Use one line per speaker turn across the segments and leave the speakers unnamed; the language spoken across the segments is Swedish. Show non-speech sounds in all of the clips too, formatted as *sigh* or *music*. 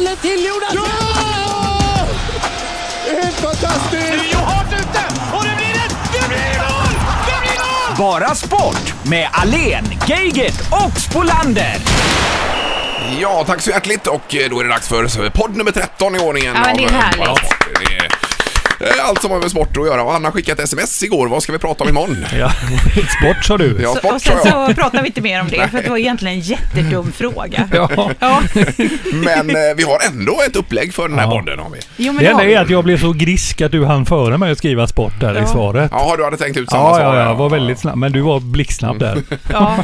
Jonas!
Ja! Det är Helt fantastiskt!
Rio hårt ute och det blir ett... Det blir mål! Det blir mål!
Bara sport med Alen, Geigert och Spolander.
Ja, tack så hjärtligt och eh, då är det dags för podd nummer 13 i ordningen.
Ja, men det är
av, eh,
härligt.
Bara Sport. Det är, eh, Allt som har med sport att göra och Anna skickade ett sms igår, vad ska vi prata om imorgon?
Ja, sport sa du.
Ja,
Så, och
sport
sen
sa jag.
så pratar vi inte mer om det, för det var egentligen en jättedum fråga.
Ja.
Ja,
Men eh, vi har ändå ett upplägg för den här
Ja.
podden. Har vi.
jo, men
Det
det har
enda
vi.
är att jag blev så grisk att du hann före mig att skriva sport där i
Ja.
svaret.
Ja, du hade tänkt ut samma
Ja,
svar.
ja, jag var väldigt snabb. Men du var
*laughs*
blixtsnabb där.
Ja,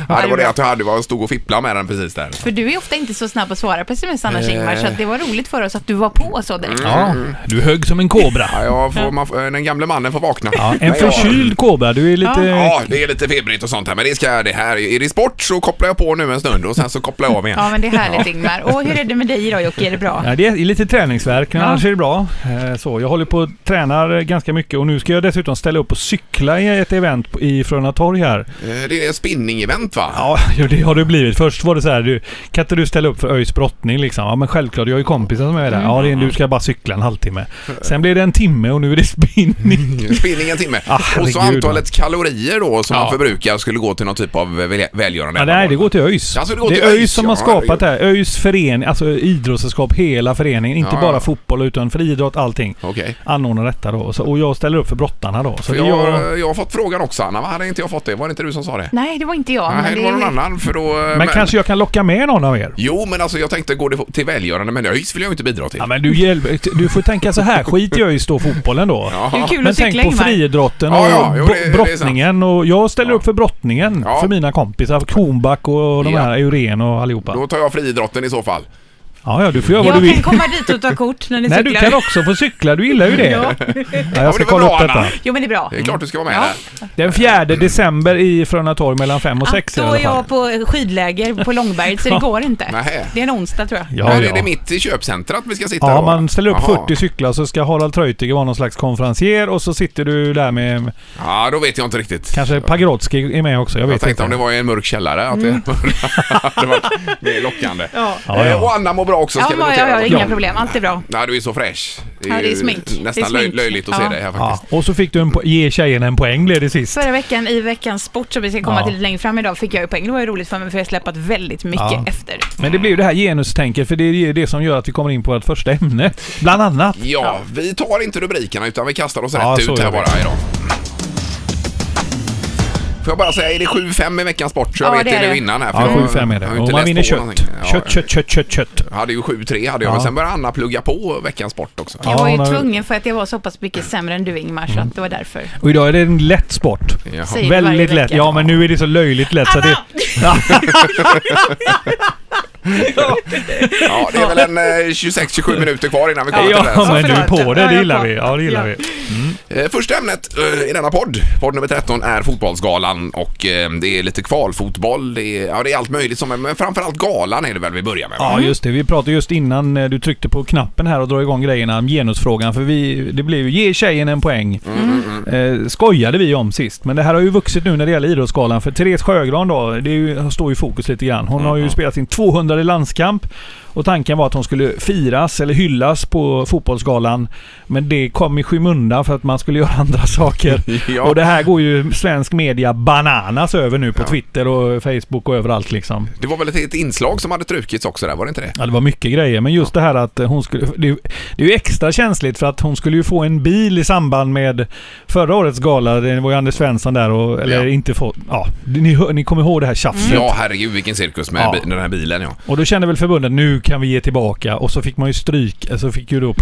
Ja, det var det att jag hade, jag stod och fipplade med den precis där.
För du är ofta inte så snabb att svara på sms annars Ingmar, så att det var roligt för oss att du var på så direkt.
Ja, du högg som en kobra.
Ja, jag får, man, får- eh, den gamle mannen får vakna.
Ja, en
Men jag-
förkyld kobra. Du är lite...
Ja, det är lite febrigt och sånt här, men det ska det här. Är det sport så kopplar jag på nu en stund och sen så kopplar jag av igen.
Ja, men det är härligt Ingmar. Och hur är det med dig idag Jocke, är det bra?
Ja, det är lite träningsvärk, men
Ja.
annars är det bra. Eh, Så, jag håller på och tränar ganska mycket och nu ska jag dessutom ställa upp och cykla i ett event på- i Frölunda torg här.
Eh, Det är ett spinning-event va?
Ja, jo, det har det blivit. Först var det så här, du, kan inte du ställa upp för ÖIS brottning liksom? Ja, men självklart. Jag har ju kompisar som är där. Ja, det är, du ska bara cykla en halvtimme. Sen blev det en timme och nu är det
Mm.
spinning.
Spinning en timme.
Ah,
och
herregud,
så antalet kalorier då som man
Ja.
förbrukar skulle gå till någon typ av väl- välgörande
Ja, nej,
ändamål.
det går till ÖIS.
Alltså, det går till
är
ÖIS,
ÖIS som
ja,
har skapat det här. ÖIS förening, alltså idrottssällskap, hela föreningen. Inte
Ja, ja.
bara fotboll utan friidrott, allting.
Okej.
Anordnar detta då. Och Så, och jag ställer upp för brottarna då. Så
För
det är jag...
Jag, eh, jag har fått frågan också Anna, hade inte jag fått det? Var det inte du som sa
Mm,
det?
Nej, det var inte jag.
Nej, det var någon annan för då...
Men, kanske jag kan locka med någon av er?
Jo, men alltså jag tänkte, går det till välgörande? Men ÖIS vill jag ju inte bidra till.
Ja, men du, hjälper, du får tänka så här. Skit i ÖIS då, fotbollen då.
Det är kul
Men
att cykla
tänk på
Ingmar.
friidrotten och
Ja, ja, jo, det-
bro-
det är
brottningen. Och jag ställer upp för brottningen
Ja.
för mina kompisar. Kronback och de
Ja.
här, Eurén och allihopa.
Då tar jag friidrotten i så fall.
Ja, ja, du får göra vad
Jag
du vill.
kan komma dit och ta kort när ni
Nej, du
cyklar.
kan också få cykla. Du gillar
*laughs*
ju det. Ja.
men
jag ska
det var
kolla
bra,
upp detta.
Anna.
Jo, men det är bra.
Det är klart du ska vara med
Ja.
här.
Den 4 december i Frölunda Torg mellan 5 och 6 i
ah, då
alla
är
fall.
jag på skidläger på Långberget, så det går inte.
Nähä.
Det är en onsdag tror jag.
Ja,
här
ja.
är det mitt i köpcentrat vi ska sitta
Ja,
då.
man ställer upp
Jaha.
40 cyklar så ska Harald Treutiger vara någon slags konferencier och så sitter du där med...
Ja, då vet jag inte riktigt.
Kanske Pagrotsky är med också, jag vet
Jag tänkte
inte. Mm.
om det var i en mörk källare att *laughs* det hade varit mer lockande.
Ja.
Ja,
Eh,
ja.
Och Anna mår bra också
Ja,
ska vi
ja,
notera.
ja, ja, inga
Ja.
problem. Allt är bra.
Nej, du är så fräsch.
Ja, det är
ju
smink.
Nästan
Det är smink.
löj- löjligt att se
Ja.
dig här faktiskt.
Ja, och så fick du en po- ge tjejen en poäng blev det sist.
Förra veckan i veckans sport som vi ska komma
Ja.
till lite längre fram idag fick jag ju poäng. Det var ju roligt för mig för jag har släpat väldigt mycket
Ja.
efter.
Men det blir ju det här genustänket för det är ju det som gör att vi kommer in på vårt första ämne. Bland annat.
Ja. vi tar inte rubrikerna utan vi kastar oss
Ja,
rätt
så
ut
gör
här
vi.
bara idag. Får jag bara säga, är det 7-5 i veckans sport så jag
Ja,
vet
det
det,
är
nu
det.
innan här. för
Ja,
jag
7-5 är
har
det.
ju inte
Och man
läst
vinner
på
kött.
någonting. Ja,
Kött, kött, kött, kött, kött.
Jag hade ju 7-3 hade jag,
Ja.
men sen började Anna plugga på veckans sport också.
Jag var ju
hon har- Mm.
tvungen för att jag var så pass mycket sämre än du Ingmar, så att det var därför.
Och idag är det en lätt sport.
Jaha.
Säg- varje
Väldigt lätt.
vecka.
Ja, men nu är det så löjligt lätt så att det...
Ja, det är väl en eh, 26-27 minuter kvar innan vi kommer till det.
Ja,
här.
men du är på det.
Ja,
Det
jag
gillar
på.
vi. Ja, det gillar vi.
Eh, Första ämnet eh, i denna podd, podd nummer 13, är Fotbollsgalan och eh, det är lite kvalfotboll, det är, ja, det är allt möjligt som, men framförallt galan är det väl vi börjar med? va?
Ja, just det. Vi pratade just innan eh, du tryckte på knappen här och drog igång grejerna om genusfrågan. För vi, det blev ju ge tjejen en poäng.
Mm,
Eh, skojade vi om sist. Men det här har ju vuxit nu när det gäller Idrottsgalan. För Therese Sjögran då, det är ju, står ju i fokus lite grann. Hon har ju
Mm.
spelat sin 200 landskamp. Och tanken var att hon skulle firas eller hyllas på Fotbollsgalan. Men det kom i skymundan för att man skulle *laughs* göra andra saker.
*laughs* Ja.
Och det här går ju svensk media bananas över nu på Twitter och Facebook och överallt liksom.
Det var väl ett, ett inslag som hade strukits också där, var det inte det?
Ja, det var mycket grejer, men just det här att eh, hon skulle... Det, är ju- det är ju extra känsligt för att hon skulle ju få en bil i samband med förra årets gala. Det var ju Anders Svensson där och... Eller
Ja. Mm.
inte få... Ja, ni, hör- ni kommer ihåg det här tjafset.
Ja, herregud vilken cirkus med
Mm. Ja.
bi- den här bilen ja.
Och då kände väl förbundet nu kan vi ge tillbaka och så fick man ju stryk. eh, Så fick ju då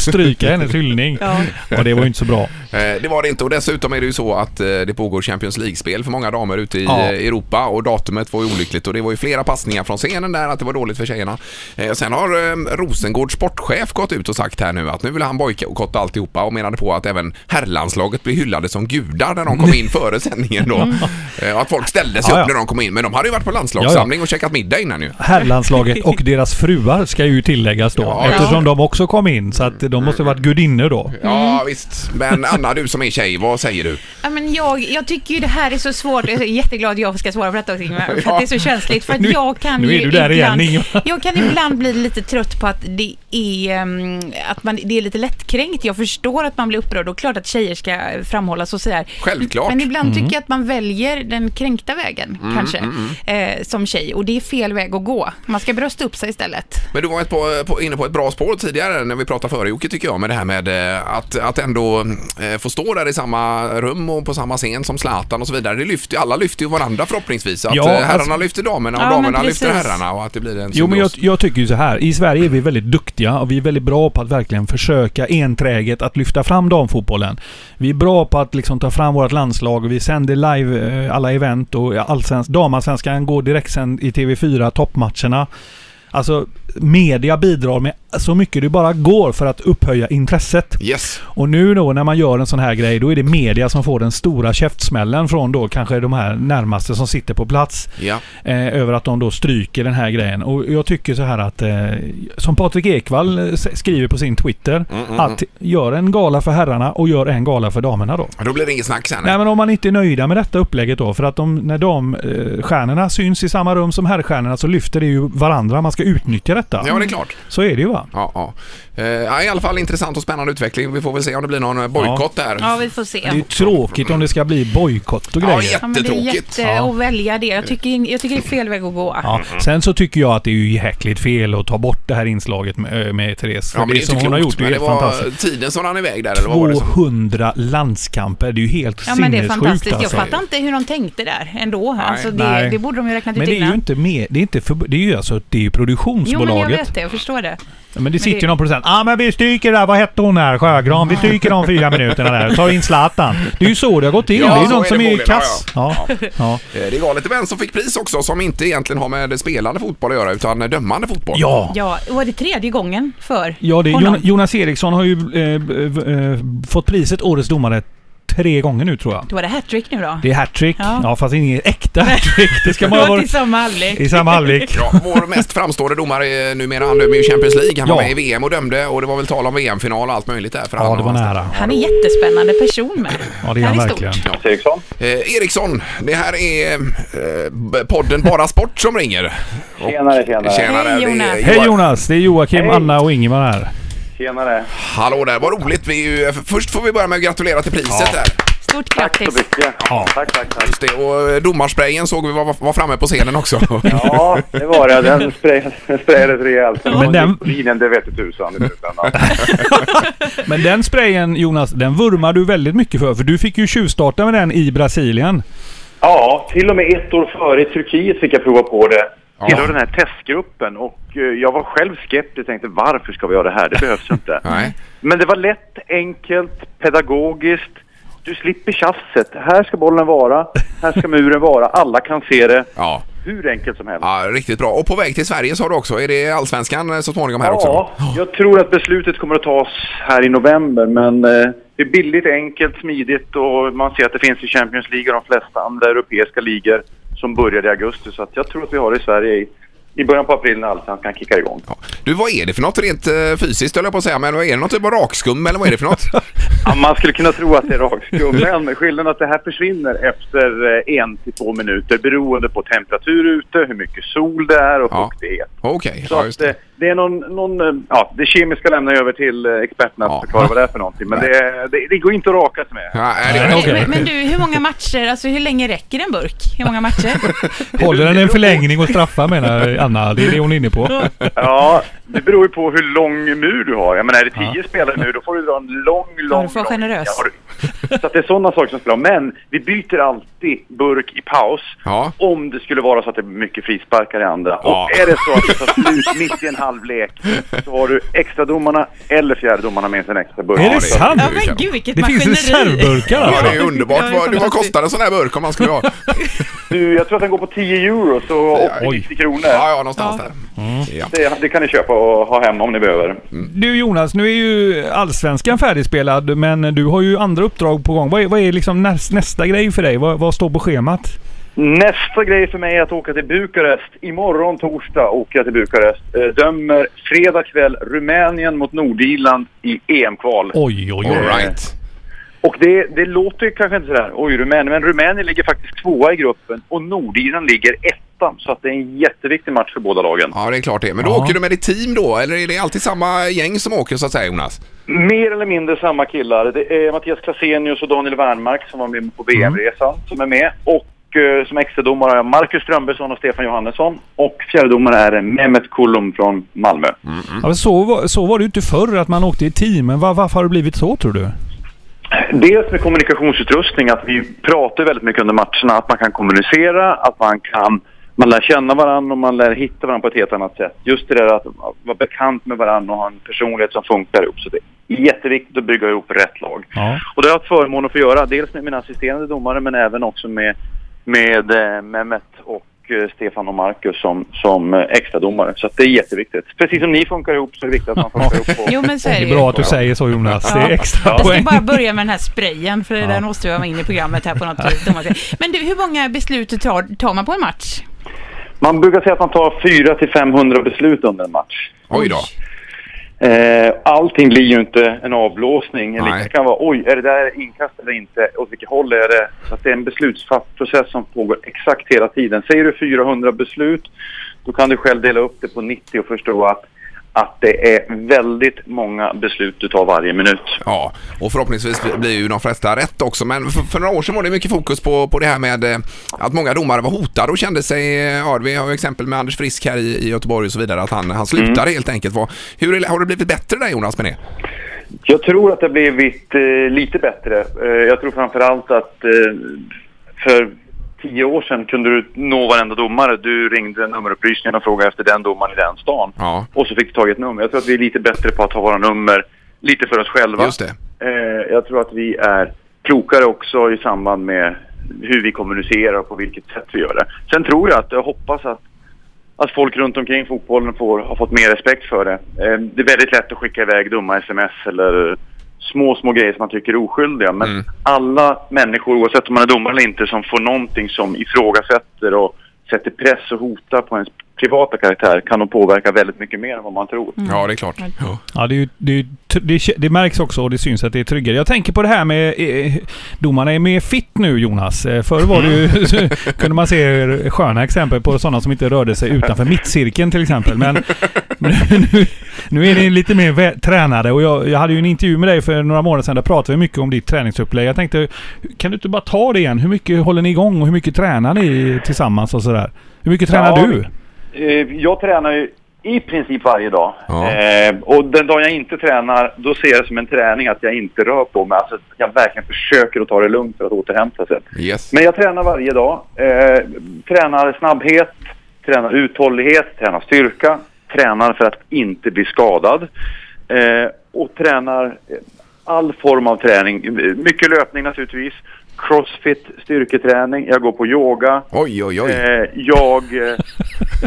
*laughs*
stryka hennes hyllning.
Ja.
Och det var ju inte så bra.
Eh, Det var det inte och dessutom är det ju så att eh, det pågår Champions League-spel för många damer ute i
Ja.
eh, Europa och datumet var ju olyckligt och det var ju flera passningar från scenen där att det var dåligt för tjejerna. Eh, Sen har eh, Rosengårds sportchef gått ut och sagt här nu att nu vill han bojkotta alltihopa och menade på att även herrlandslaget blev hyllade som gudar när de kom
*laughs*
in före sändningen då. Eh, Och att folk ställde sig upp
Ja, Mm. ja.
när de kom in men de hade ju varit på landslagssamling och käkat middag innan ju.
Herrlandslaget och deras fruar ska ju tilläggas då.
Ja,
eftersom
ja.
de också kom in. Så att de måste ha varit gudinnor då.
Ja, visst. Men Anna, du som är tjej, vad säger du?
Ja, men jag, jag tycker ju det här är så svårt. Jag är jätteglad jag ska svara på detta också, Ingmar, för att det är så känsligt. För att
Nu-
jag kan
nu är
ju
du där
ibland,
igen, Ingmar.
Jag kan ibland bli lite trött på att det är, ehm, att man, det är lite lättkränkt. Jag förstår att man blir upprörd och klart att tjejer ska framhållas och sådär.
Självklart.
Men ibland
Mm.
tycker jag att man väljer den kränkta vägen, kanske,
mm.
Eh, som tjej. Och det är fel väg att gå. Man ska brösta upp sig istället.
Men du var ett på, på, inne på ett bra spår tidigare när vi pratade före Jocke tycker jag med det här med eh, att, att ändå eh, få stå där i samma rum och på samma scen som Zlatan och så vidare. Det lyfter, ju- alla lyfter ju varandra förhoppningsvis. Att
Ja,
eh, herrarna
alltså-
lyfter damerna och
Ja, men
damerna lyfter
precis.
herrarna och att det blir en
Jo, men jag,
symbios.
jag tycker ju så här. I Sverige är vi väldigt duktiga och vi är väldigt bra på att verkligen försöka enträget att lyfta fram damfotbollen. Vi är bra på att liksom ta fram vårt landslag och vi sänder live eh, alla event och allsvens- damallsvenskan går direktsänd i TV4, toppmatcherna. Alltså, media bidrar med så mycket det bara går för att upphöja intresset.
Yes.
Och nu då när man gör en sån här grej, då är det media som får den stora käftsmällen från då kanske de här närmaste som sitter på plats.
Ja.
Eh, över att de då stryker den här grejen. Och jag tycker så här att, eh, som Patrik Ekwall eh, s- skriver på sin Twitter,
Mm,
att gör en gala för herrarna och gör en gala för damerna då.
Då blir det inget snack sen.
Nej men om man inte är nöjda med detta upplägget då, för att de, när damstjärnorna syns i samma rum som herrstjärnorna så lyfter det ju varandra. Man ska utnyttja detta.
Ja, det är klart.
Så är det ju va?
Ja, ja. Eh, ja, I alla fall intressant och spännande utveckling. Vi får väl se om det blir någon eh, bojkott där.
Ja, vi får se.
Det är ju tråkigt om det ska bli bojkott och
Ja,
grejer.
jätte-
Ja, men det är
Jättetråkigt.
jätte att välja det. Jag tycker, jag tycker det är fel väg att gå.
Ja,
Mm-hmm.
sen så tycker jag att det är ju jäkligt fel att ta bort det här inslaget med, eh, med Therese. För
Ja, men
det,
är
som
inte
hon har
klokt,
gjort det är
men
ju
det
helt
var
fantastiskt.
tiden som rann iväg där, eller vad var det? som-
200 landskamper. Det är ju helt
Ja men det är
sinnessjukt
fantastiskt.
alltså.
Jag fattar inte hur de tänkte där ändå. alltså det,
nej.
det borde de ju räknat
Men
ut
det är ju
innan.
inte med, det är inte för, det är ju alltså, det är
Jo men
ju
jag
produktionsbolaget.
vet det, jag förstår det.
men, det sitter ju
det-
någon producent. Ja ah, men vi stryker där, vad hette hon här, Sjögran? Vi stryker de fyra minuterna där. Tar in Zlatan. Det är ju så det har gått till.
Ja,
det är ju
så
någon
är
som
det
är
förmodligen.
kass.
Ja,
Ja, ja.
Eh, Det är galet vem som fick pris också som inte egentligen har med spelande fotboll att göra utan dömande fotboll.
ja.
Ja, var det tredje gången för
Ja, det,
honom?
Jon- Jonas Eriksson har ju eh, b- eh, fått priset Årets domare tre gånger nu tror jag.
Då var det hattrick nu då.
Det är hattrick. Ja.
Ja.
fast inget äkta hattrick. Det ska man
Det
ha
var till
varit
samma halvlek.
i samma halvlek.
Ja, vår mest framstående domare är numera, han dömer ju Champions League. Han var
Ja.
med i VM och dömde och det var väl tal om VM-final och allt möjligt där. För
Ja,
han
det
och
var
hans-
nära.
Han är en jättespännande person med.
Ja, det är han
Det här är
verkligen.
stort.
Eriksson.
Eh, Eriksson, det här är eh, b- podden Bara Sport som ringer.
Tjenare, tjenare.
Tjenare,
Hej,
det är
Jonas.
Hej Jonas! Det är Joakim,
Hej.
Anna och Ingemar här.
Tjenare.
Hallå där, vad roligt. Vi är ju, eh, först får vi börja med att gratulera till priset där.
Stort
Tack så
grattis.
mycket.
Ja.
Tack, tack, tack.
Just det, och eh, domarsprayen såg vi var, var framme på scenen också.
Ja, det var det. Den spray- den sprayades rejält.
Men den-
Vinen, det vete tusan. i slutändan.
Men den sprayen Jonas, den vurmar du väldigt mycket för. För du fick ju tjuvstarta med den i Brasilien.
Ja, till och med ett år före i Turkiet fick jag prova på det. Tillhör den här testgruppen och eh, jag var själv skeptisk tänkte varför ska vi göra det här? Det behövs ju
*laughs*
inte.
*laughs* Nej.
Men det var lätt, enkelt, pedagogiskt. Du slipper tjafset. Här ska bollen vara, här ska muren vara. Alla kan se det.
Ja.
Hur enkelt som helst.
ja, riktigt bra. Och på väg till Sverige sa du också. Är det Allsvenskan eh, så småningom här också?
Ja, jag tror att beslutet kommer att tas här i november, men eh, det är billigt, enkelt, smidigt och man ser att det finns i Champions League och de flesta andra europeiska ligor som börjar i augusti. Så att jag tror att vi har det i Sverige i, i början på april när allsvenskan kickar igång.
Ja. Du, vad är det för något rent eh, fysiskt höll jag på att säga, men vad är det något typ av rakskum eller vad är det för
*laughs*
något?
Ja, man skulle kunna tro att det är rakskum, *laughs* men skillnaden är att det här försvinner efter eh, en till två minuter beroende på temperatur ute, hur mycket sol det är och
Ja.
fuktighet.
Okej,
Så
ja,
att, eh,
just
det.
det.
det är någon, någon, eh, ja, det kemiska lämnar jag över till eh, experterna att
Ja.
förklara vad det är för någonting. Men det, det, det går inte att raka sig med.
Ja, är det
Nej,
är
okej.
okay.
Men, men du, hur många matcher, alltså hur länge räcker en burk? Hur många
*laughs*
matcher?
Håller den en förlängning och straffar menar Anna. Det är det hon är inne på.
Ja, det beror ju på hur lång mur du har. Jag menar, är det tio spelare nu, då får du dra en lång, lång...
du får vara
lång-
generös.
Ja, du- Så att det är sådana saker som spelar. Men vi byter alltid burk i paus.
Ja.
Om det skulle vara så att det blir mycket frisparkar i andra.
Ja.
Och är det så att det tar slut mitt i en halvlek så har du extradomarna eller fjärdedomarna med sig en extra burk.
Är
det
det
är
sant?
Ja men gud vilket
Det finns
maskineri.
reservburkar
Ja, det
alltså.
är ju underbart.
Ja, det
Vad,
kommer
du, vad
att bli-
kostar en sån här burk om man skulle
*laughs*
ha?
Du, jag tror att den går på 10 euro, så
Oj.
80-90 kronor.
Ja, ja, någonstans där.
Mm.
Ja.
Det, det kan ni köpa och ha hemma om ni behöver.
Du Jonas, nu är ju Allsvenskan färdigspelad men du har ju andra uppdrag på gång. Vad är, vad är liksom näs- nästa grej för dig? Vad, vad står på schemat?
Nästa grej för mig är att åka till Bukarest. Imorgon torsdag åker jag till Bukarest. Eh, dömer fredag kväll Rumänien mot Nordirland i EM-kval.
Oj, oj,
All
oj.
right.
Och det, det låter ju kanske inte sådär, oj Rumänien, men Rumänien ligger faktiskt tvåa i gruppen och Nordirland ligger etta. Så att det är en jätteviktig match för båda lagen.
Ja, det är klart det. Men då
Ja.
åker du med ditt team då, eller är det alltid samma gäng som åker så att säga, Jonas?
Mer eller mindre samma killar. Det är Mattias Klasenius och Daniel Wernmark som var med på VM-resan som är med. Och eh, som extradomare har jag Marcus Strömbergsson och Stefan Johannesson. Och fjärdedomare är Mehmet Kullum från Malmö.
Ja, men så, var- så var det ju inte förr, att man åkte i teamen. Va- varför har det blivit så, tror du?
Dels med kommunikationsutrustning, att vi pratar väldigt mycket under matcherna. Att man kan kommunicera, att man kan... Man lär känna varandra och man lär hitta varandra på ett helt annat sätt. Just det där att vara bekant med varandra och ha en personlighet som funkar ihop. Så det är jätteviktigt att bygga ihop rätt lag.
Ja.
Och det har jag haft förmånen att få göra, dels med mina assisterande domare men även också med, med eh, Mehmet och eh, Stefan och Marcus som, som eh, extradomare. Så att det är jätteviktigt. Precis som ni funkar ihop så är det viktigt att man funkar ihop. på-
Jo, men så
Det
är det
är bra
ju.
att du säger så, Jonas. Det är
Ja.
extra
Jag ska
poäng.
bara börja med den här sprayen, för den måste jag ha in i programmet här på något vis. dumt sätt. Men du, hur många beslut tar, tar man på en match?
Man brukar säga att man tar 400 till 500 beslut under en match.
Oj då.
Eh, allting blir ju inte en avblåsning.
Nej.
Det kan vara oj, är det där inkast eller inte? Åt vilket håll är det? Så att det är en beslutsprocess som pågår exakt hela tiden. Säger du 400 beslut, då kan du själv dela upp det på 90 och förstå att, att det är väldigt många beslut du tar varje minut.
Ja, och förhoppningsvis blir ju de flesta rätt också. Men för, för några år sedan var det mycket fokus på, på det här med eh, att många domare var hotade och kände sig... eh, Ja, vi har ju exempel med Anders Frisk här i, i Göteborg och så vidare, att han, han slutade helt enkelt. Vad- hur, är- har det blivit bättre där Jonas med det?
Jag tror att det har blivit eh, lite bättre. Eh, jag tror framförallt att eh, för tio år sedan kunde du nå varenda domare. Du ringde nummerupplysningen och frågade efter den domaren i den stan.
Ja.
Och så fick du tag i ett nummer. Jag tror att vi är lite bättre på att ta våra nummer lite för oss själva.
Just det.
Eh, jag tror att vi är klokare också i samband med hur vi kommunicerar och på vilket sätt vi gör det. Sen tror jag att, jag hoppas att att folk runt omkring fotbollen får, har fått mer respekt för det. Eh, Det är väldigt lätt att skicka iväg dumma sms eller små, små grejer som man tycker är oskyldiga. Men alla människor, oavsett om man är domare eller inte, som får någonting som ifrågasätter och sätter press och hotar på ens privata karaktär kan nog påverka väldigt mycket mer än vad man tror.
Ja, det är klart. Ja.
Ja, det, är ju, det, är ju, tr- det, k- det märks också och det syns att det är tryggare. Jag tänker på det här med... eh, Domarna är mer fit nu, Jonas. Eh, Förr var det ju,
Mm.
så *laughs* kunde man se sköna exempel på sådana som inte rörde sig utanför mittcirkeln till exempel. Men *laughs* nu, nu, nu är ni lite mer vä- tränade och jag, jag hade ju en intervju med dig för några månader sedan. Där pratade vi mycket om ditt träningsupplägg. Jag tänkte, kan du inte bara ta det igen? Hur mycket håller ni igång och hur mycket tränar ni tillsammans och sådär? Hur mycket tränar
Ja,
du?
Eh, Jag tränar ju i princip varje dag.
Ja.
Eh, och den dag jag inte tränar, då ser jag det som en träning att jag inte rör på mig. Alltså, jag verkligen försöker att ta det lugnt för att återhämta sig.
Yes.
Men jag tränar varje dag. Eh, tränar snabbhet, tränar uthållighet, tränar styrka, tränar för att inte bli skadad eh, och tränar eh, all form av träning. Mycket löpning naturligtvis, crossfit, styrketräning, jag går på yoga.
Oj, oj, oj.
Eh, jag eh,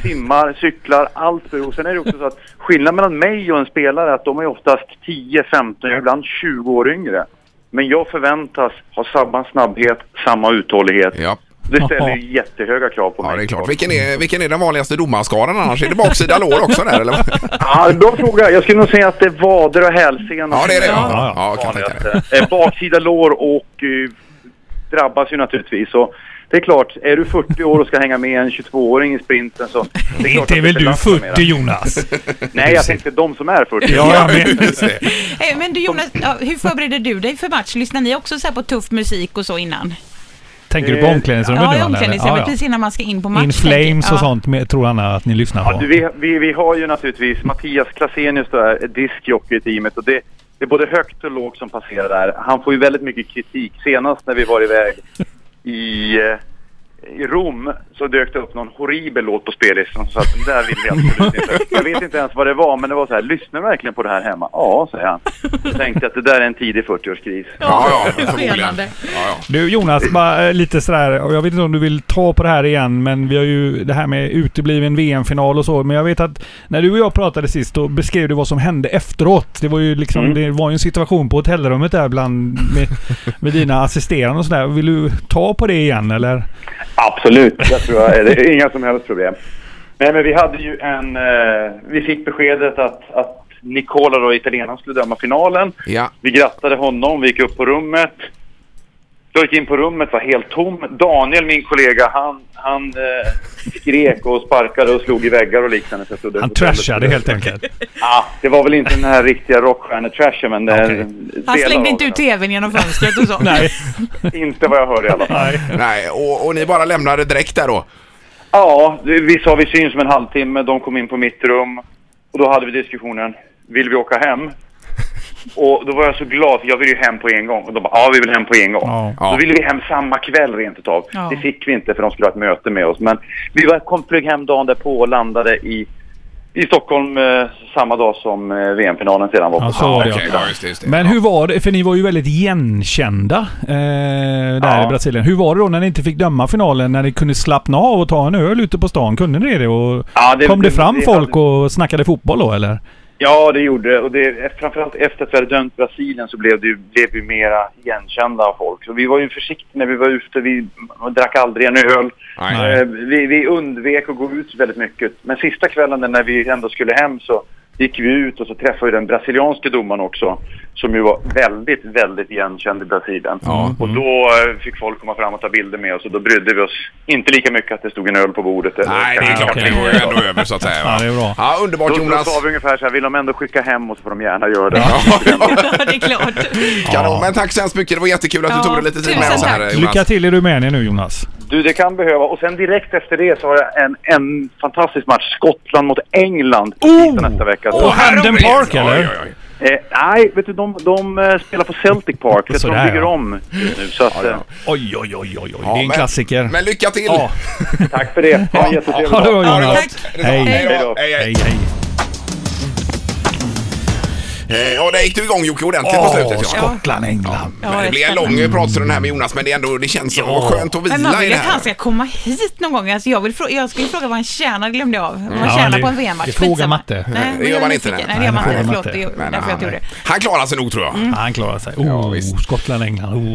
simmar, cyklar, allt beror. Sen är det också så att skillnaden mellan mig och en spelare är att de är oftast 10, 15, ja, ibland 20 år yngre. Men jag förväntas ha samma snabbhet, samma uthållighet.
Ja.
Det ställer ju jättehöga krav på mig.
Ja, det är klart. Vilken är, vilken är den vanligaste domarskadan annars? Är det baksida lår också där eller?
Ja, Ah, bra fråga. Jag skulle nog säga att det är vader och hälsena.
Ja, det är det.
Ja,
Ja,
ja.
ja, kan jag tänka mig.
Vanligaste. Eh, Baksida lår och eh, drabbas ju naturligtvis. Och det är klart, är du 40 år och ska hänga med en 22-åring i sprinten så... Det klart
Inte
att
är
det
väl du
belastar mera. *laughs*
40 Jonas?
Nej, jag tänkte de som är 40.
Ja, jag med.
Just det.
Eh, Men du Jonas, ja, hur förbereder du dig för match? Lyssnar ni också så här på tuff musik och så innan?
Tänker du på
Eh,
omklädningsrummet nu?
Ja, i
eller?
omklädningsrummet
Ja, ja.
precis innan man ska in på match.
In
tänker jag.
Flames och
Ja.
sånt med, tror han att ni lyssnar
Ja,
på.
du, vi, vi, vi har ju naturligtvis Mattias Klasenius då är diskjockey i teamet och det, det är både högt och lågt som passerar där. Han får ju väldigt mycket kritik. Senast när vi var iväg i, eh, i Rom så dök det upp någon horribel låt på spellistan så att den där vill vi absolut inte. Jag vet inte ens vad det var men det var så här, lyssnar du verkligen på det här hemma? Ja, säger han. Jag tänkte att det där är en tidig 40-årskris.
Ja, ja, förmodligen.
Skenande.
Ja,
Du Jonas, bara eh, lite sådär, och jag vet inte om du vill ta på det här igen, men vi har ju det här med utebliven VM-final och så. Men jag vet att när du och jag pratade sist, då beskrev du vad som hände efteråt. Det var ju liksom,
Mm.
det var ju en situation på hotellrummet där bland, med, med dina assisterande och sådär. Vill du ta på det igen eller?
Absolut, det tror jag. Det är inga som helst problem. Nej, men vi hade ju en... Eh, vi fick beskedet att, att Nicola, då, italienaren, skulle döma finalen.
Ja.
Vi grattade honom, vi gick upp på rummet. Jag gick in på rummet, var helt tom. Daniel, min kollega, han, han eh, skrek och sparkade och slog i väggar och liknande. Så jag trodde-
Han trashade helt enkelt.
Ja, det var väl inte den här riktiga rockstjärnetrashen, men... det-
Okej.
Han
delar
slängde
av
inte
den.
ut tvn genom fönstret och så.
Nej.
Inte vad jag hörde i alla fall.
Nej.
Nej, och, och ni bara lämnade direkt där då?
Ja, vi sa vi syns om en halvtimme. De kom in på mitt rum och då hade vi diskussionen. Vill vi åka hem? Och då var jag så glad för jag ville ju hem på en gång. Och de bara, ja vi vill hem på en gång.
Ja.
Ja.
Då ville vi hem samma kväll rent utav.
Ja.
Det fick vi inte för de skulle ha ett möte med oss. Men vi var, kom, flög hem dagen därpå och landade i, i Stockholm eh, samma dag som eh, VM-finalen sedan var på.
Ja, så var det ja.
Okej, ja, just det, just det.
Men hur var det? För ni var ju väldigt igenkända eh, där
Ja.
i Brasilien. Hur var det då när ni inte fick döma finalen? När ni kunde slappna av och ta en öl ute på stan? Kunde ni det? Och
Ja, det-
kom det
det-
fram
det-
folk och snackade fotboll då eller?
Ja, det gjorde det. Och det, framförallt efter att vi hade dömt Brasilien så blev, det, blev vi mera igenkända av folk. Så vi var ju försiktiga när vi var ute. Vi drack aldrig en öl.
Nej.
Nej.
Eh, Vi, vi undvek att gå ut väldigt mycket. Men sista kvällen när vi ändå skulle hem så gick vi ut och så träffade vi den brasilianske domaren också. Som ju var väldigt, väldigt igenkänd i Brasilien.
Ja. Mm.
Och då eh, fick folk komma fram och ta bilder med oss och då brydde vi oss inte lika mycket att det stod en öl på bordet. eller-
Nej, det är klart.
okej.
Det går ju ändå över så att säga. va?
Ja, det är bra.
Ja, underbart
Då, då
Jonas.
sa vi ungefär så här, vill de ändå skicka hem oss så får de gärna göra det.
*laughs* Ja, det är klart.
Kanon, men tack så hemskt mycket. Det var jättekul att du
Ja,
tog dig lite tid med
tusen
oss här
tack.
Jonas.
Lycka till i Rumänien nu Jonas.
Du, det kan behöva. Och sen direkt efter det så har jag en, en fantastisk match. Skottland mot England oh! nästa vecka. Så,
Åh,
Åh, herregud.
Hamden Park,
Oj,
eller?
oj, oj.
eh, nej, vet du, de, de eh, spelar på Celtic Park. Jag tror
Sådär,
de bygger
ja.
om just nu. Så att, eh,
Oj, oj, oj, oj, oj. det
Ja,
är en
men-
klassiker.
Men lycka till!
Ja.
tack för det. Ha en jättetrevlig
Ha det
dag.
bra
Ja, det är
Jonas.
gott. Det är
Hej.
gott. Hej
Hej,
då. Hej, hej.
hej.
Eh, Ja, där gick du igång Jocke ordentligt på
Åh,
slutet. Ja.
Skottland, England.
Ja,
Men det
är
blir en
spännande.
lång pratstund här med Jonas, men det, är ändå, det känns så skönt att vila
Men man
i
vill
det
att han
här.
ska komma hit någon gång. Alltså jag, vill frå- jag skulle fråga vad han tjänar, det glömde jag av. Vad han
Mm. Ja,
tjänar
det-
på en VM-match.
det frågar
Skitsamma.
Matte.
Nej,
gör
men jag är
man inte,
nyfiken.
nej.
Nej, det gör man
Nej,
inte.
det
Förlåt,
gör
det
man
Men
är därför jag
han,
tog det. Mm.
han klarar sig nog tror jag.
Han klarar sig. Oh,
Ja, visst.
Skottland, England.
*laughs*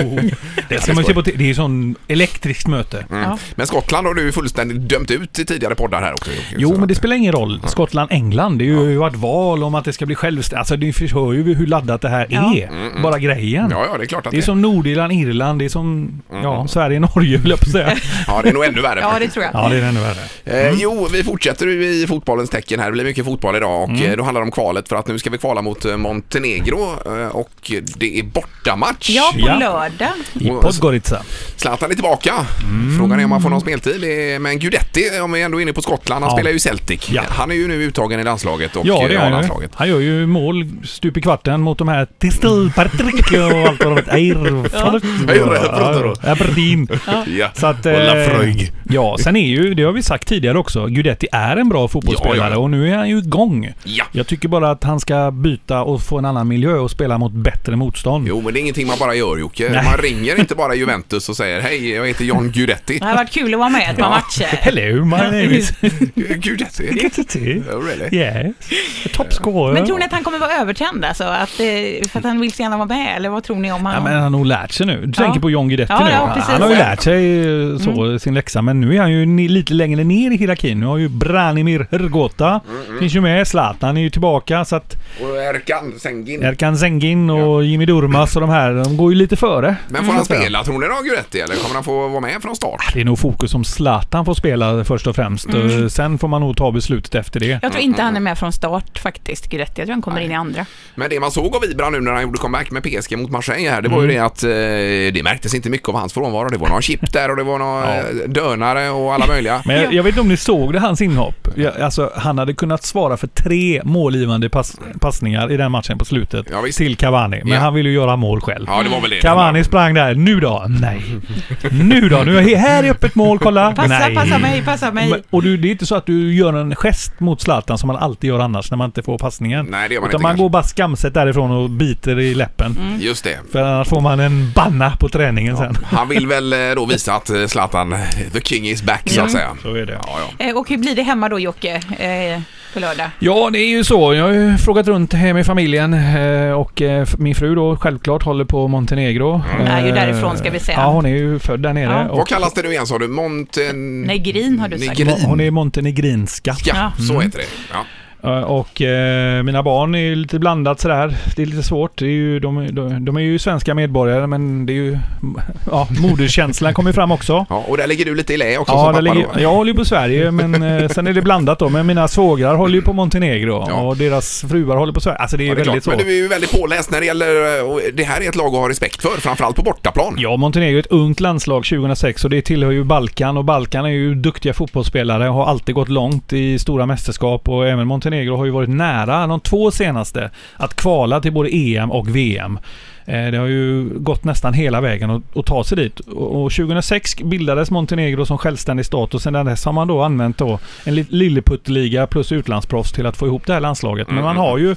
Oh. Det ska man se på. t- Det är ju sån elektriskt möte.
Ja.
Men Skottland har du ju fullständigt dömt ut i tidigare poddar här också. Jocke.
Jo,
Så
men det
att-
spelar ingen roll. Skottland, England. Det är ju- har ju varit val om att det ska bli självständigt. Alltså, ni förstår ju hur laddat det här
Ja.
är. Bara grejen.
Mm, Ja, Mm, ja, det är klart att
Det är som Nordirland, Irland. Det är som ja, Sverige, *laughs* Norge, höll jag på
*laughs*
att säga.
Ja, det är nog ännu värre
ja, det
faktiskt.
tror jag.
Ja, det är ännu värre.
Eh, jo, vi fortsätter ju i fotbollens tecken här. Det blir mycket fotboll idag och
Mm.
eh, då handlar det om kvalet för att nu ska vi kvala mot eh, Montenegro eh, och det är bortamatch.
Ja, på
Ja.
lördag.
I
Och-
Podgorica.
Zlatan är tillbaka.
Mm.
Frågan är om han får någon speltid. Det är- Men Gudetti, om vi ändå är inne på Skottland, han
Ja.
spelar ju i Celtic.
Ja.
Han är ju nu uttagen i landslaget och
Ja,
eh,
det gör han ju.
landslaget.
Han gör ju mål stup i kvarten mot de här Testil, Patrick och allt
*laughs*
vad de heter. Eir,
Eir-
Aberdeen.
Ja.
Så att,
Och
eh,
Lafröig.
ja, sen är ju, det har vi sagt tidigare också, Gudetti är en bra fotbollsspelare
Ja, ja, ja.
och nu är han ju igång.
Ja.
Jag tycker bara att han ska byta och få en annan miljö och spela mot bättre motstånd.
Jo, men det är ingenting man bara gör Jocke.
Nej.
Man ringer inte bara Juventus och säger hej, jag heter John Gudetti.
Det har varit kul att vara med i ett par
*laughs*
matcher.
Hello, my name is
*laughs* Gudetti?
Gudetti.
Oh, really?
Yes. Top scorer.
Men tror ni att han kommer vara övertänd alltså? Att, eh, för att han vill så gärna vara med? Eller vad tror ni om
Ja,
han?
men han har nog lärt sig nu. Du
Ja.
tänker på John Guidetti
Ja,
nu.
ja,
han,
precis. Mm.
han har ju lärt sig eh, så, sin läxa, men nu är han ju ni- lite längre ner i hierarkin. Nu har ju Branimir Hrgota,
Mm,
finns ju med. Zlatan är ju tillbaka, så att
Och Erkan Zengin.
Erkan Zengin och Jimmy Durmaz och de här, de går ju lite före.
Men får han
Så att säga.
spela tror ni då Gudetti eller kommer han få vara med från start?
Det är nog fokus om Zlatan får spela först och främst.
Mm.
Eh, Sen får man nog ta beslutet efter det.
Jag tror inte han är med från start faktiskt, Guidetti. Jag tror han kommer in i andra.
Men det man såg av Ibra nu när han gjorde comeback med PSG mot Marseille här, det var
Mm.
ju det att eh, det märktes inte mycket av hans frånvaro. Det var någon chip där och det var någon eh, dönare och alla möjliga.
Men jag, jag vet inte om ni såg det, hans inhopp. Jag, alltså, han hade kunnat svara för tre målgivande pass, passningar i den matchen på slutet
Ja, visst.
till Cavani. Men
Ja.
han ville ju göra mål själv.
Ja, det var väl det.
Cavani sprang där. Nu då? Nej. Nu då? Nu är jag här i öppet mål, kolla.
Passa,
Nej.
passa mig, passa mig.
Men- Och du, det är inte så att du gör en gest mot Zlatan som man alltid gör annars när man inte får passningen.
Nej, det gör man
Utan
inte
man
kanske.
går bara skamset därifrån och biter i läppen.
Mm.
Just det.
För annars får man en banna på träningen sen.
Han vill väl eh, då visa att eh, Zlatan, the king is back så att säga.
Så är det.
Ja, ja.
Eh, Och hur blir det hemma då Jocke? Eh, på lördag?
Ja, det är ju så. Jag har ju frågat runt hemma i familjen eh, och eh, f- min fru då självklart håller på Montenegro.
Mm. Hon är ju
Eh,
därifrån, ska vi säga.
Ja, hon är ju född där nere.
Ja.
Och
Vad kallas det nu igen sa du? Monten...
Negrin har du sagt. Mm,
Negrin.
hon är montenegrinska.
Ja,
Ja.
Mm.
så heter det. Ja.
Eh, Och eh, mina barn är ju lite blandat sådär. Det är lite svårt. Det är ju, de, de, de är ju svenska medborgare men det är ju... *laughs* Ja, moderkänslan kommer ju fram också.
Ja, och där ligger du lite i lä också
Ja,
som
det
pappa
ligger,
då.
jag håller ju på Sverige, men eh, sen är det blandat då. Men mina svågrar håller ju på Montenegro
Ja.
och deras fruar håller på Sverige. Alltså det är,
Ja, det är
väldigt
klart. Men
så.
du är ju väldigt påläst när det gäller... eh, och Det här är ett lag att ha respekt för, framförallt på bortaplan.
Ja, Montenegro är ett ungt landslag 2006 och det tillhör ju Balkan och Balkan är ju duktiga fotbollsspelare och har alltid gått långt i stora mästerskap och även Montenegro har ju varit nära de två senaste att kvala till både EM och VM. Eh, Det har ju gått nästan hela vägen att- att ta sig dit. Och och 2006 bildades Montenegro som självständig stat och sedan dess har man då använt då en li- lilleputtliga plus utlandsproffs till att få ihop det här landslaget. Men man har ju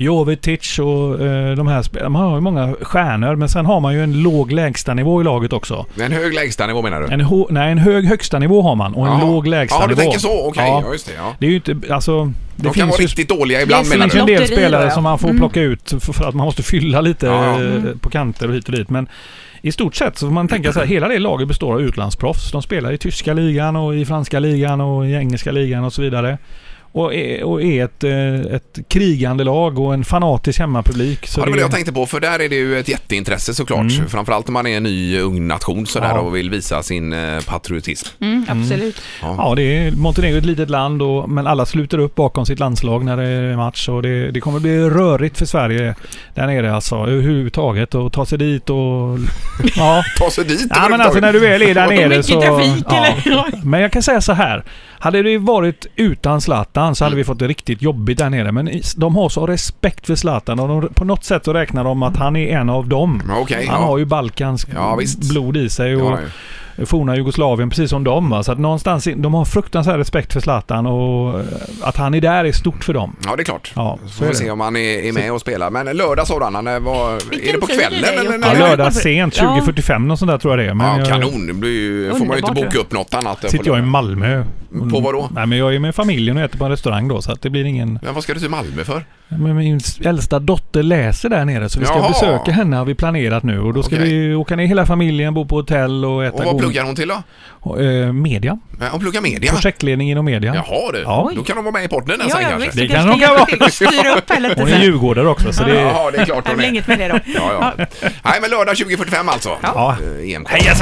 Jovetic och eh, de här spelarna. Man har ju många stjärnor men sen har man ju en låg lägstanivå i laget också.
En hög lägstanivå menar du?
En, ho- nej, en hög högstanivå har man och en
Jaha.
låg lägstanivå.
Ja, du tänker så. Okej,
Ja.
ja, just det. Ja.
Det är ju inte, alltså... Det
De kan
finns
vara
ju
riktigt dåliga ibland
Det
menar
finns ju
du?
en del
Lotteri,
spelare
ja.
som man får plocka ut för, för att man måste fylla lite
Ja, ja.
eh, på kanter och hit och dit. Men i stort sett så får man tänka så här, hela det laget består av utlandsproffs. De spelar i tyska ligan och i franska ligan och i engelska ligan och så vidare. Och är, och är ett, eh, ett krigande lag och en fanatisk hemmapublik. Så
Ja, det var
det-
det jag tänkte på, för där är det ju ett jätteintresse såklart. Framförallt om man är en ny ung nation sådär
Mm. Ja.
och vill visa sin eh, patriotism.
Mm, absolut.
Ja, det är Montenegro är ett litet land och, men alla sluter upp bakom sitt landslag när det är match och det, det kommer bli rörigt för Sverige där nere alltså överhuvudtaget och ta sig
*laughs*
dit och... Ja.
Ta sig dit
Ja, men alltså när du väl är där
Det är
nere
mycket
så...
trafik,
ja.
eller?
Men jag kan säga så här. Hade det varit utan Zlatan så hade vi fått det riktigt jobbigt där nere. Men i- de har så respekt för Zlatan och de, på något sätt så räknar de att han är en av dem.
*laughs* Ja, okej,
han
ja.
har ju Balkans
Ja, visst.
blod i sig och
Ja,
forna Jugoslavien precis som dem. Va? Så att någonstans, i- de har fruktansvärd respekt för Zlatan och eh, att han är där är stort för dem.
Ja, det är klart.
Ja,
så
så
får
är
vi
det.
se om han är, är med och spelar. Men lördag sa du, Anna, när var, är
Vilken
det på
tid är det,
kvällen? eller
Jocke?
när
Ja,
Ja,
lördag
varför-
sent,
Ja.
20.45 och sånt där tror jag det är. Men
Ja,
jag-
kanon. Det blir ju, får man ju inte
Underbart,
boka
tror jag.
upp något annat.
sitter jag i Malmö. Mm.
På vad då?
Nej, men jag är med familjen och äter på en restaurang då, så att det blir ingen...
Men vad ska du till Malmö för?
Men min äldsta dotter läser där nere, så vi ska
Jaha.
besöka henne har vi planerat nu. Och då ska
Okej.
vi åka ner hela familjen, bo på hotell och äta
Och vad pluggar hon till då?
Och, eh, media.
Ja, Hon pluggar media.
Projektledning inom media.
Jaha du,
Ja.
då kan de vara med i podden
Ja,
sen
ja,
kanske.
visst.
Det
Det
kan
kanske
de kan
hjälper till att styra upp här lite
Hon är
sen.
djurgårdare också, så det...
Jaha, det är klart
Det är
hon
väl
är.
inget med det då.
Ja, ja. Nej, men lördag 2045 alltså.
Ja.
Eh, EM *laughs* Heja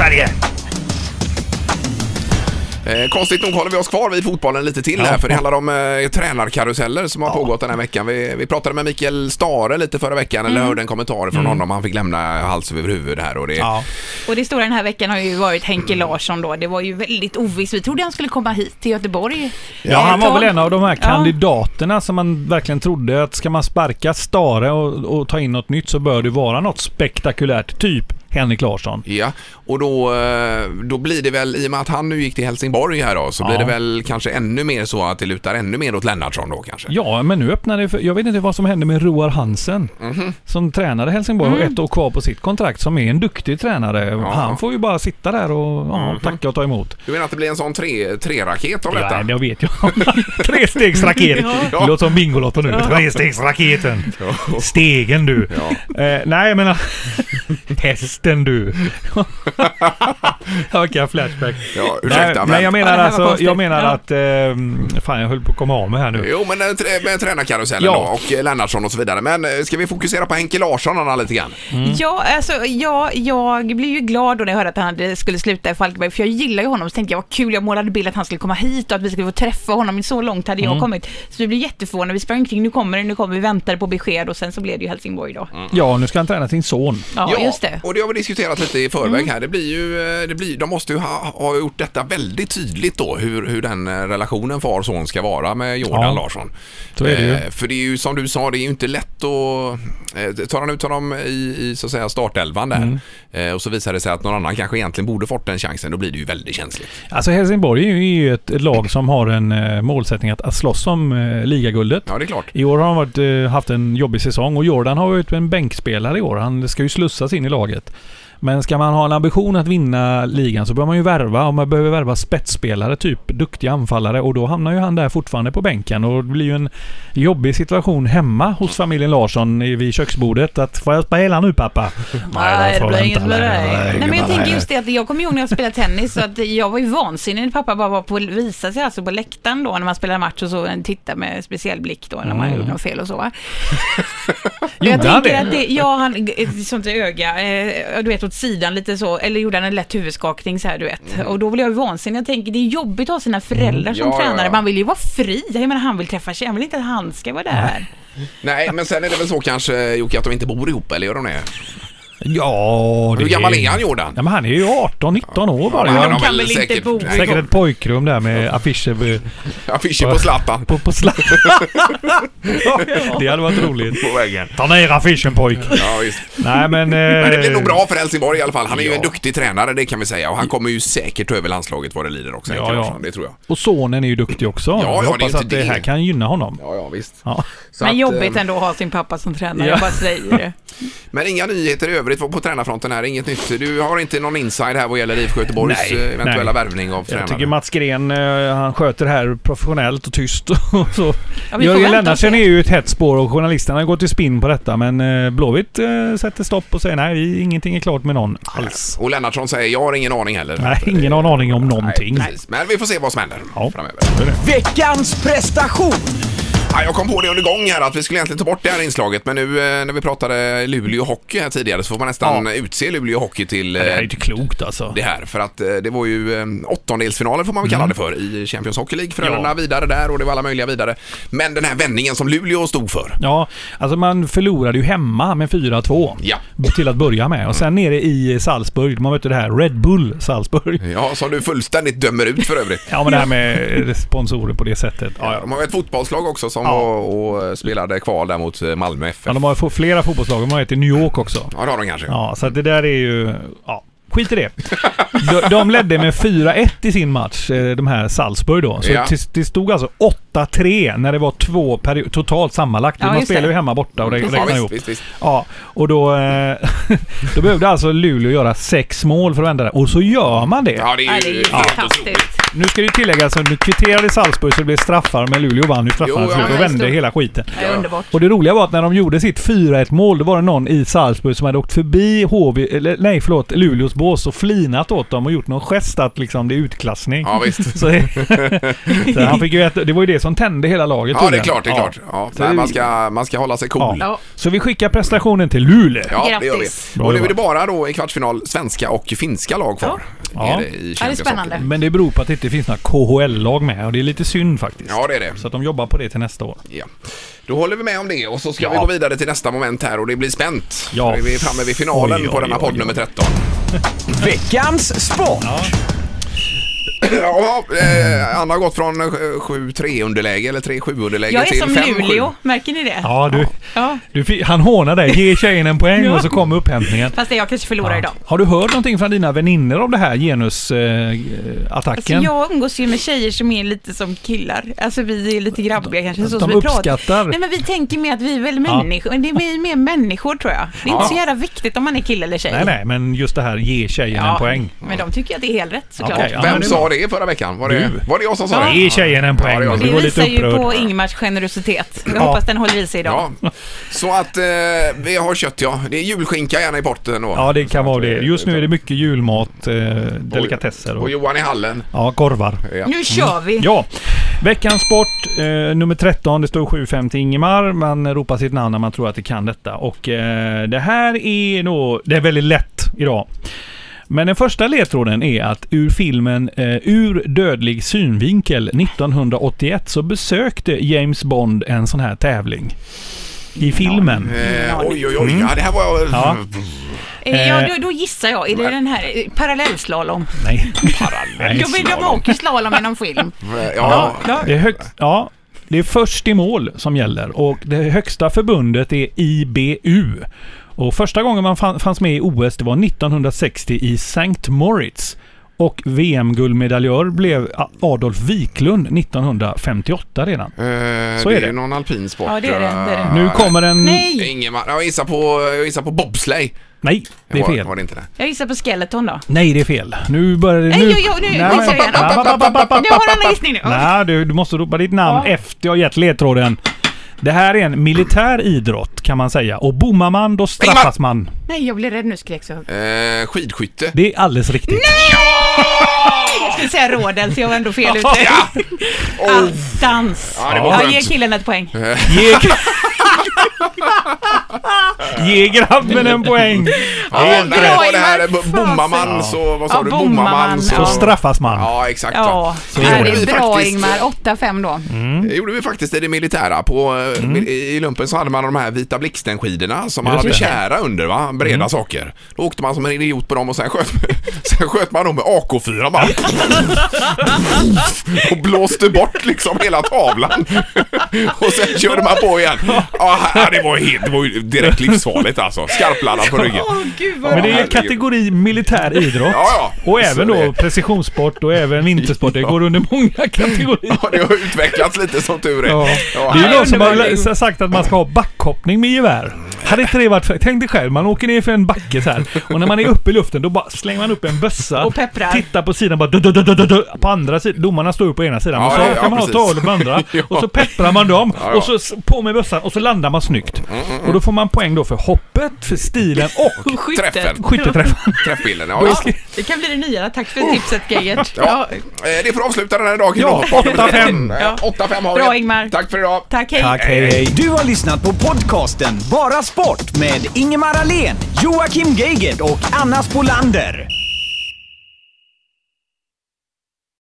Sverige! Eh, konstigt nog håller vi oss kvar vid fotbollen lite till här, för det handlar om eh, tränarkaruseller som har pågått den här veckan. Vi, vi pratade med Mikael Stare lite förra veckan,
Mm.
eller hörde en kommentar från honom. Han fick lämna hals över huvud här och det...
Mm. Ja.
Och det stora den här veckan har ju varit Henke Larsson då. Det var ju väldigt ovisst. Vi trodde han skulle komma hit till Göteborg.
Ja, han var väl en av de här
Ja.
kandidaterna som man verkligen trodde att ska man sparka Stare och, och ta in något nytt så bör det vara något spektakulärt. Typ Henrik Larsson.
Ja, och då, eh, då blir det väl, i och med att han nu gick till Helsingborg här då, så blir det väl kanske ännu mer så att det lutar ännu mer åt Lennartsson då kanske.
Ja, men nu öppnar det för... Jag vet inte vad som hände med Roar Hansen.
Mhm.
Som tränade Helsingborg och
Mm.
har ett år kvar på sitt kontrakt. Som är en duktig tränare. Han får ju bara sitta där och ja,
Mhm.
tacka och ta emot.
Du menar att det blir en sån tre- tre-raket av detta?
Ja, det vet jag. *laughs* Trestegsraket.
Ja.
Det låter som Bingolotto nu. Trestegsraketen. Stegen du. Eh, nej, men... *laughs* Hästen du. *laughs* Jag kan flashback.
Ja, ursäkta,
nej,
men...
nej, jag
Ja,
menar,
det här var
alltså,
konstigt.
jag menar
Ja.
att... Eh, fan, jag höll på att komma av mig här nu.
Jo, men eh, tr- med tränarkarusellen
Ja.
då och eh, Lennartsson och så vidare. Men eh, ska vi fokusera på Henke Larsson Anna, lite grann?
Mm.
Ja, alltså, ja, jag blev ju glad då när jag hörde att han hade- skulle sluta i Falkenberg, för jag gillar ju honom. Så tänkte jag, vad kul, jag målade bild att han skulle komma hit och att vi skulle få träffa honom. Så långt hade
Mm.
jag kommit. Så vi blev jätteförvånade. Vi sprang omkring, nu kommer det, nu kommer vi, väntade på besked och sen så blev det ju Helsingborg då.
Ja, nu ska han träna sin son.
Ja, just det. Mm.
Och det har vi diskuterat lite i förväg här. Det blir ju, eh, det blir, de måste ju ha, ha gjort detta väldigt tydligt då, hur, hur den eh, relationen far-son ska vara med Jordan
Ja.
Larsson.
Så är det ju.
Eh, För det är ju som du sa, det är ju inte lätt att... eh, Tar han ut honom i, i så att säga startelvan
Mm.
där eh, och så visar det sig att någon annan kanske egentligen borde fått den chansen, då blir det ju väldigt känsligt.
Alltså Helsingborg är ju ett ett lag som har en eh, målsättning att, att slåss om eh, ligaguldet.
Ja, det är klart.
I år har han varit, eh, haft en jobbig säsong och Jordan har varit en bänkspelare i år. Han ska ju slussas in i laget. Men ska man ha en ambition att vinna ligan så bör man ju värva och man behöver värva spetsspelare, typ duktiga anfallare och då hamnar ju han där fortfarande på bänken och det blir ju en jobbig situation hemma hos familjen Larsson i- vid köksbordet att får jag spela nu pappa?
Nej, det
får
blir
vänta
inget med
länge.
dig.
Nej,
Nej, men jag
nej.
tänker just det att jag kommer ihåg när jag spelade tennis, så att jag var ju vansinnig när pappa bara var på visa sig alltså på läktaren då när man spelade match och så tittade med speciell blick då när man gjorde något fel och så. Va? jag
Gjorde han
tänker
det?
att det, ja, han, ett sånt där öga, eh, du vet åt sidan lite så, eller gjorde han en lätt huvudskakning så här du vet. Och då blev jag ju vansinnig. Jag tänker det är jobbigt att ha sina föräldrar som
Ja, ja, ja.
tränare. Man vill ju vara fri. Jag menar han vill träffa tjejer, han vill inte att han ska vara där.
Nej, men sen är det väl så kanske Jocke att de inte bor ihop, eller gör de det?
Ja, det
Hur gammal är han, Jordan?
Ja, men han är ju 18-19 år bara.
Ja, men
Ja,
de
kan väl inte bo
nej,
Säkert ett pojkrum där med affischer på-
Affischer på
*laughs*
Zlatan.
på,
*laughs*
på slapp. det hade varit roligt.
På väggen.
Ta ner affischen pojk.
Ja, visst.
Nej
*laughs*
men... eh,
Men det blir nog bra för Helsingborg i alla fall. Han är ju en duktig tränare, det kan vi säga. Och han kommer ju säkert ta över landslaget vad det lider också,
Ja,
Henke
ja.
Larsson. Det tror jag.
Och sonen är ju duktig också.
ja, det
jag
är
hoppas
inte
att det
det.
här kan gynna honom.
Ja, ja, visst.
Ja.
Så
men
att,
jobbigt
eh,
ändå att ha sin pappa som tränare,
Ja.
jag bara säger det.
Men inga nyheter i övrigt på tränarfronten här, inget nytt. Du har inte någon inside här vad gäller IFK Göteborgs
Nej,
eh, eventuella
nej.
värvning av
Jag tycker
tränare.
Mats Gren, eh, han sköter det här professionellt och tyst. *laughs* och så.
Ja, vi får
Jörgen
vänta och
Lennartsen
se.
är ju ett hett spår och journalisterna går till spinn på detta. Men eh, Blåvitt eh, sätter stopp och säger nej, vi- ingenting är klart med någon alls.
Och Lennartsson säger, jag har ingen aning heller.
Nej, ingen har en aning om
Nej,
någonting.
precis. Men vi får se vad som händer
Ja.
framöver.
Veckans prestation!
Ja, jag kom på det under gång här att vi skulle egentligen ta bort det här inslaget men nu eh, när vi pratade Luleå Hockey här tidigare så får man nästan utse Luleå Hockey till eh,
Det här är ju inte klokt alltså.
det här för att eh, det var ju eh, åttondelsfinaler får man väl kalla det för i Champions Hockey League. Frölunda
Mm. Ja.
vidare där och det var alla möjliga vidare. Men den här vändningen som Luleå stod för.
Ja, alltså man förlorade ju hemma med 4-2
Ja.
till att börja med. Och sen nere i Salzburg, man mötte det här Red Bull Salzburg.
Ja, som du fullständigt dömer ut för övrigt.
Ja, men det här med sponsorer på det sättet. *laughs* Ja, ja.
De har ju ett fotbollslag också som
Ja.
var och eh, spelade kval där mot eh, Malmö
Ja,
FF.
de har ju få- flera fotbollslag, de har ett i New York också.
Ja, det har de kanske.
Ja, så att det där är ju... Ja, skit i det. De, de ledde med 4-1 i sin match, eh, de här Salzburg då. Så
Ja.
det, det stod alltså 8-3 när det var två period, totalt sammanlagt.
Ja,
Man
just
spelar
det.
ju hemma borta och rä-
Ja,
räknar
visst,
ihop.
visst, visst.
Ja, och då, eh, *laughs* då behövde alltså Luleå göra sex mål för att vända det. Och så gör man det.
Ja, det
Ja,
är
det är
ju
ju fantastiskt.
Nu ska det ju tilläggas att nu kvitterade Salzburg så det blev straffar, men Luleå vann ju straffarna
Jo,
till
ja,
slut och
ja,
vände
just det.
hela skiten.
Det är underbart.
Och det roliga var att när de gjorde sitt 4-1 mål, då var det någon i Salzburg som hade åkt förbi HV, eller nej förlåt, Luleås bås och flinat åt dem och gjort någon gest att liksom det är utklassning.
Ja, visst.
*laughs* Så, det- så han fick ju äta, det var ju det som tände hela laget
Ja, det är
tydligen.
klart, det är
Ja.
klart. Ja,
Så
nej,
det-
man, ska, man ska hålla sig cool.
Ja.
Ja.
Så vi skickar prestationen till Luleå.
Ja, det gör vi.
Grattis.
Bra
Och nu är
jobbat.
det bara då i kvartsfinal svenska och finska lag kvar.
Ja.
Är det, i
Ja, det är
Champions
spännande.
Hockey.
Men det beror på att det inte finns några KHL-lag med och det är lite synd faktiskt.
Ja, det är det.
Så att de jobbar på det till nästa år.
Ja. Då håller vi med om det och så ska
Ja.
vi gå vidare till nästa moment här och det blir spänt.
Ja.
Ja. Vi är framme vid finalen
Oj, oj,
på denna
oj,
podd
oj.
nummer 13.
Veckans sport!
*clears throat* Ja, eh, Anna har gått från eh, 7-3 underläge eller 3-7 underläge
Jag är
till
som
5-7.
Luleå, märker ni det?
Ja, du,
Ja.
du, fi- han hånar dig. Ge tjejen
*laughs*
en poäng och så kommer upphämtningen.
Fast det jag kanske förlorar idag.
Har du hört någonting från dina vänner om det här genusattacken? Eh,
Alltså,
attacken?
jag umgås ju med tjejer som är lite som killar. Alltså vi är lite grabbiga kanske. Så
de
som vi pratar.
uppskattar.
Nej men vi tänker med att vi är väl
Ja.
människor. Men det är vi är mer människor tror jag. Det är inte så jävla viktigt om man är kille eller tjej.
Nej, nej, men just det här ge tjejen en poäng.
Men de tycker att det är helt rätt såklart.
Okej, ja, men
Vem
det
sa det förra veckan? Var det,
Du.
var det jag som sa
var-
det?
Ge tjejen en poäng.
Ja, det gör vi.
och så
Det
går lite
visar ju på
upprörd.
Ingmars generositet. Jag
Ja.
hoppas den håller i sig idag.
Ja. Så att eh, vi har kött ja. Det är julskinka gärna i potten då.
Ja, det kan vara det. Just nu är det mycket julmat, eh, delikatesser
Och
och
Johan i hallen.
ja, korvar.
Nu kör vi!
Ja, veckans sport eh, nummer 13. Det står 7-5 till Ingemar. Man ropar sitt namn när man tror att det kan detta. Och eh, det här är nog... Det är väldigt lätt idag. Men den första ledtråden är att ur filmen eh, Ur dödlig synvinkel 1981 så besökte James Bond en sån här tävling. I filmen.
Mm,
Eh, oj, oj, oj. Ja, det här var...
Mm. Ja.
Eh, Ja,
Eh.
då, då gissar jag. Är det den här eh, parallellslalom?
Nej.
De, de åker slalom
*laughs*
i någon film.
Ja, ja.
Det är högst, ja, det är först i mål som gäller och det högsta förbundet är IBU. Och första gången man fan- fanns med i OS det var 1960 i St. Moritz. Och VM-guldmedaljör blev Adolf Wiklund 1958 redan.
Eh,
Så
det
är
är ju
det.
någon alpin sport. eh,
Ja, det är det, det är det.
Nu kommer en...
Nej!
Ingemar, jag gissar på, jag gissar på bobsleigh.
Nej, det är
Var-
fel.
Var det inte det?
Jag gissar på Skeleton då.
Nej, det är fel. Nu börjar det...
Nej, jo, jo, nu- nu
men-
säger jag det.
Ba, ba, ba, ba, ba.
Nu har du en annan gissning nu.
Nej, du, du måste ropa ditt namn
Ja.
efter jag gett ledtråden. Det här är en militär idrott kan man säga. Och bommar man, då straffas man.
Nej, jag blir rädd nu skrek så högt.
Eh, skidskytte.
Det är alldeles riktigt.
Jag skulle säga rådel, så jag var ändå fel ute.
*laughs* *laughs* Ja! Oh.
Attans!
Ja, det var
Ja,
skönt.
ge killen ett poäng.
Ge, Ge grabben en poäng.
Ja,
men
det här
bra,
var det här.
Ingmar.
bo- Bommar man
Fasen.
så, vad sa
Ja,
du?
bommar
Bommar man
man,
så...
Så straffas man.
Ja, exakt.
Ja,
Det
Nej,
gjorde
det
vi
är bra
faktiskt. Mm.
Ingmar. 8-5 då.
Mm.
Det gjorde vi faktiskt i det militära. På, eh, I i lumpen så hade man de här vita blixtenskidorna som man
Just
hade
Mm. det. Mm.
tjära under, va? breda saker. Då åkte man som en idiot på dem och sen sköt, *laughs* sen sköt man dem med AK4 bara. och blåste bort liksom hela tavlan. *laughs* och sen körde man på igen. Ja, det var, helt, det var ju direkt livsfarligt alltså. Skarpladdad på ryggen.
gud
Men det är
herregud.
kategori militär idrott.
Ja, ja. Så
Och även
det-
då precisionssport och även vintersport. Det går under många kategorier.
Ja, det har utvecklats lite som tur är.
Ja.
Ja,
Det är ju
här-
någon som har lä- sagt att man ska ha backhoppning med gevär. Hade inte det varit för, Tänk dig själv, man åker ner för en backe så här och när man är uppe i luften då bara slänger man upp en bössa.
Och pepprar.
Tittar på sidan bara dö, dö, dö, dö, dö, dö. På andra sidan, domarna står ju på ena sidan.
Ja,
och så
ja, ja,
kan man ha
precis.
tavlor på andra.
*laughs* Ja.
Och så pepprar man dem
ja. Mm,
och så s- på med bössan och så landar man snyggt. Och då får man poäng då för hoppet, för stilen och
Träffen. *laughs*
skytteträffen.
Träffbilden, ja, just. det.
Det kan bli det nya. Tack för tipset Geijert.
Oh. Ja.
Ja.
eh, Det får avsluta den här dagen.
Ja, 8-5.
Eh, 8-5 har vi.
Bra, Ingmar.
Tack för idag.
Tack, hej.
Tack, hej hej.
Du har lyssnat på podcasten Bara Sport med Ingemar Ahlén, Joakim Geigert och Anna Spolander.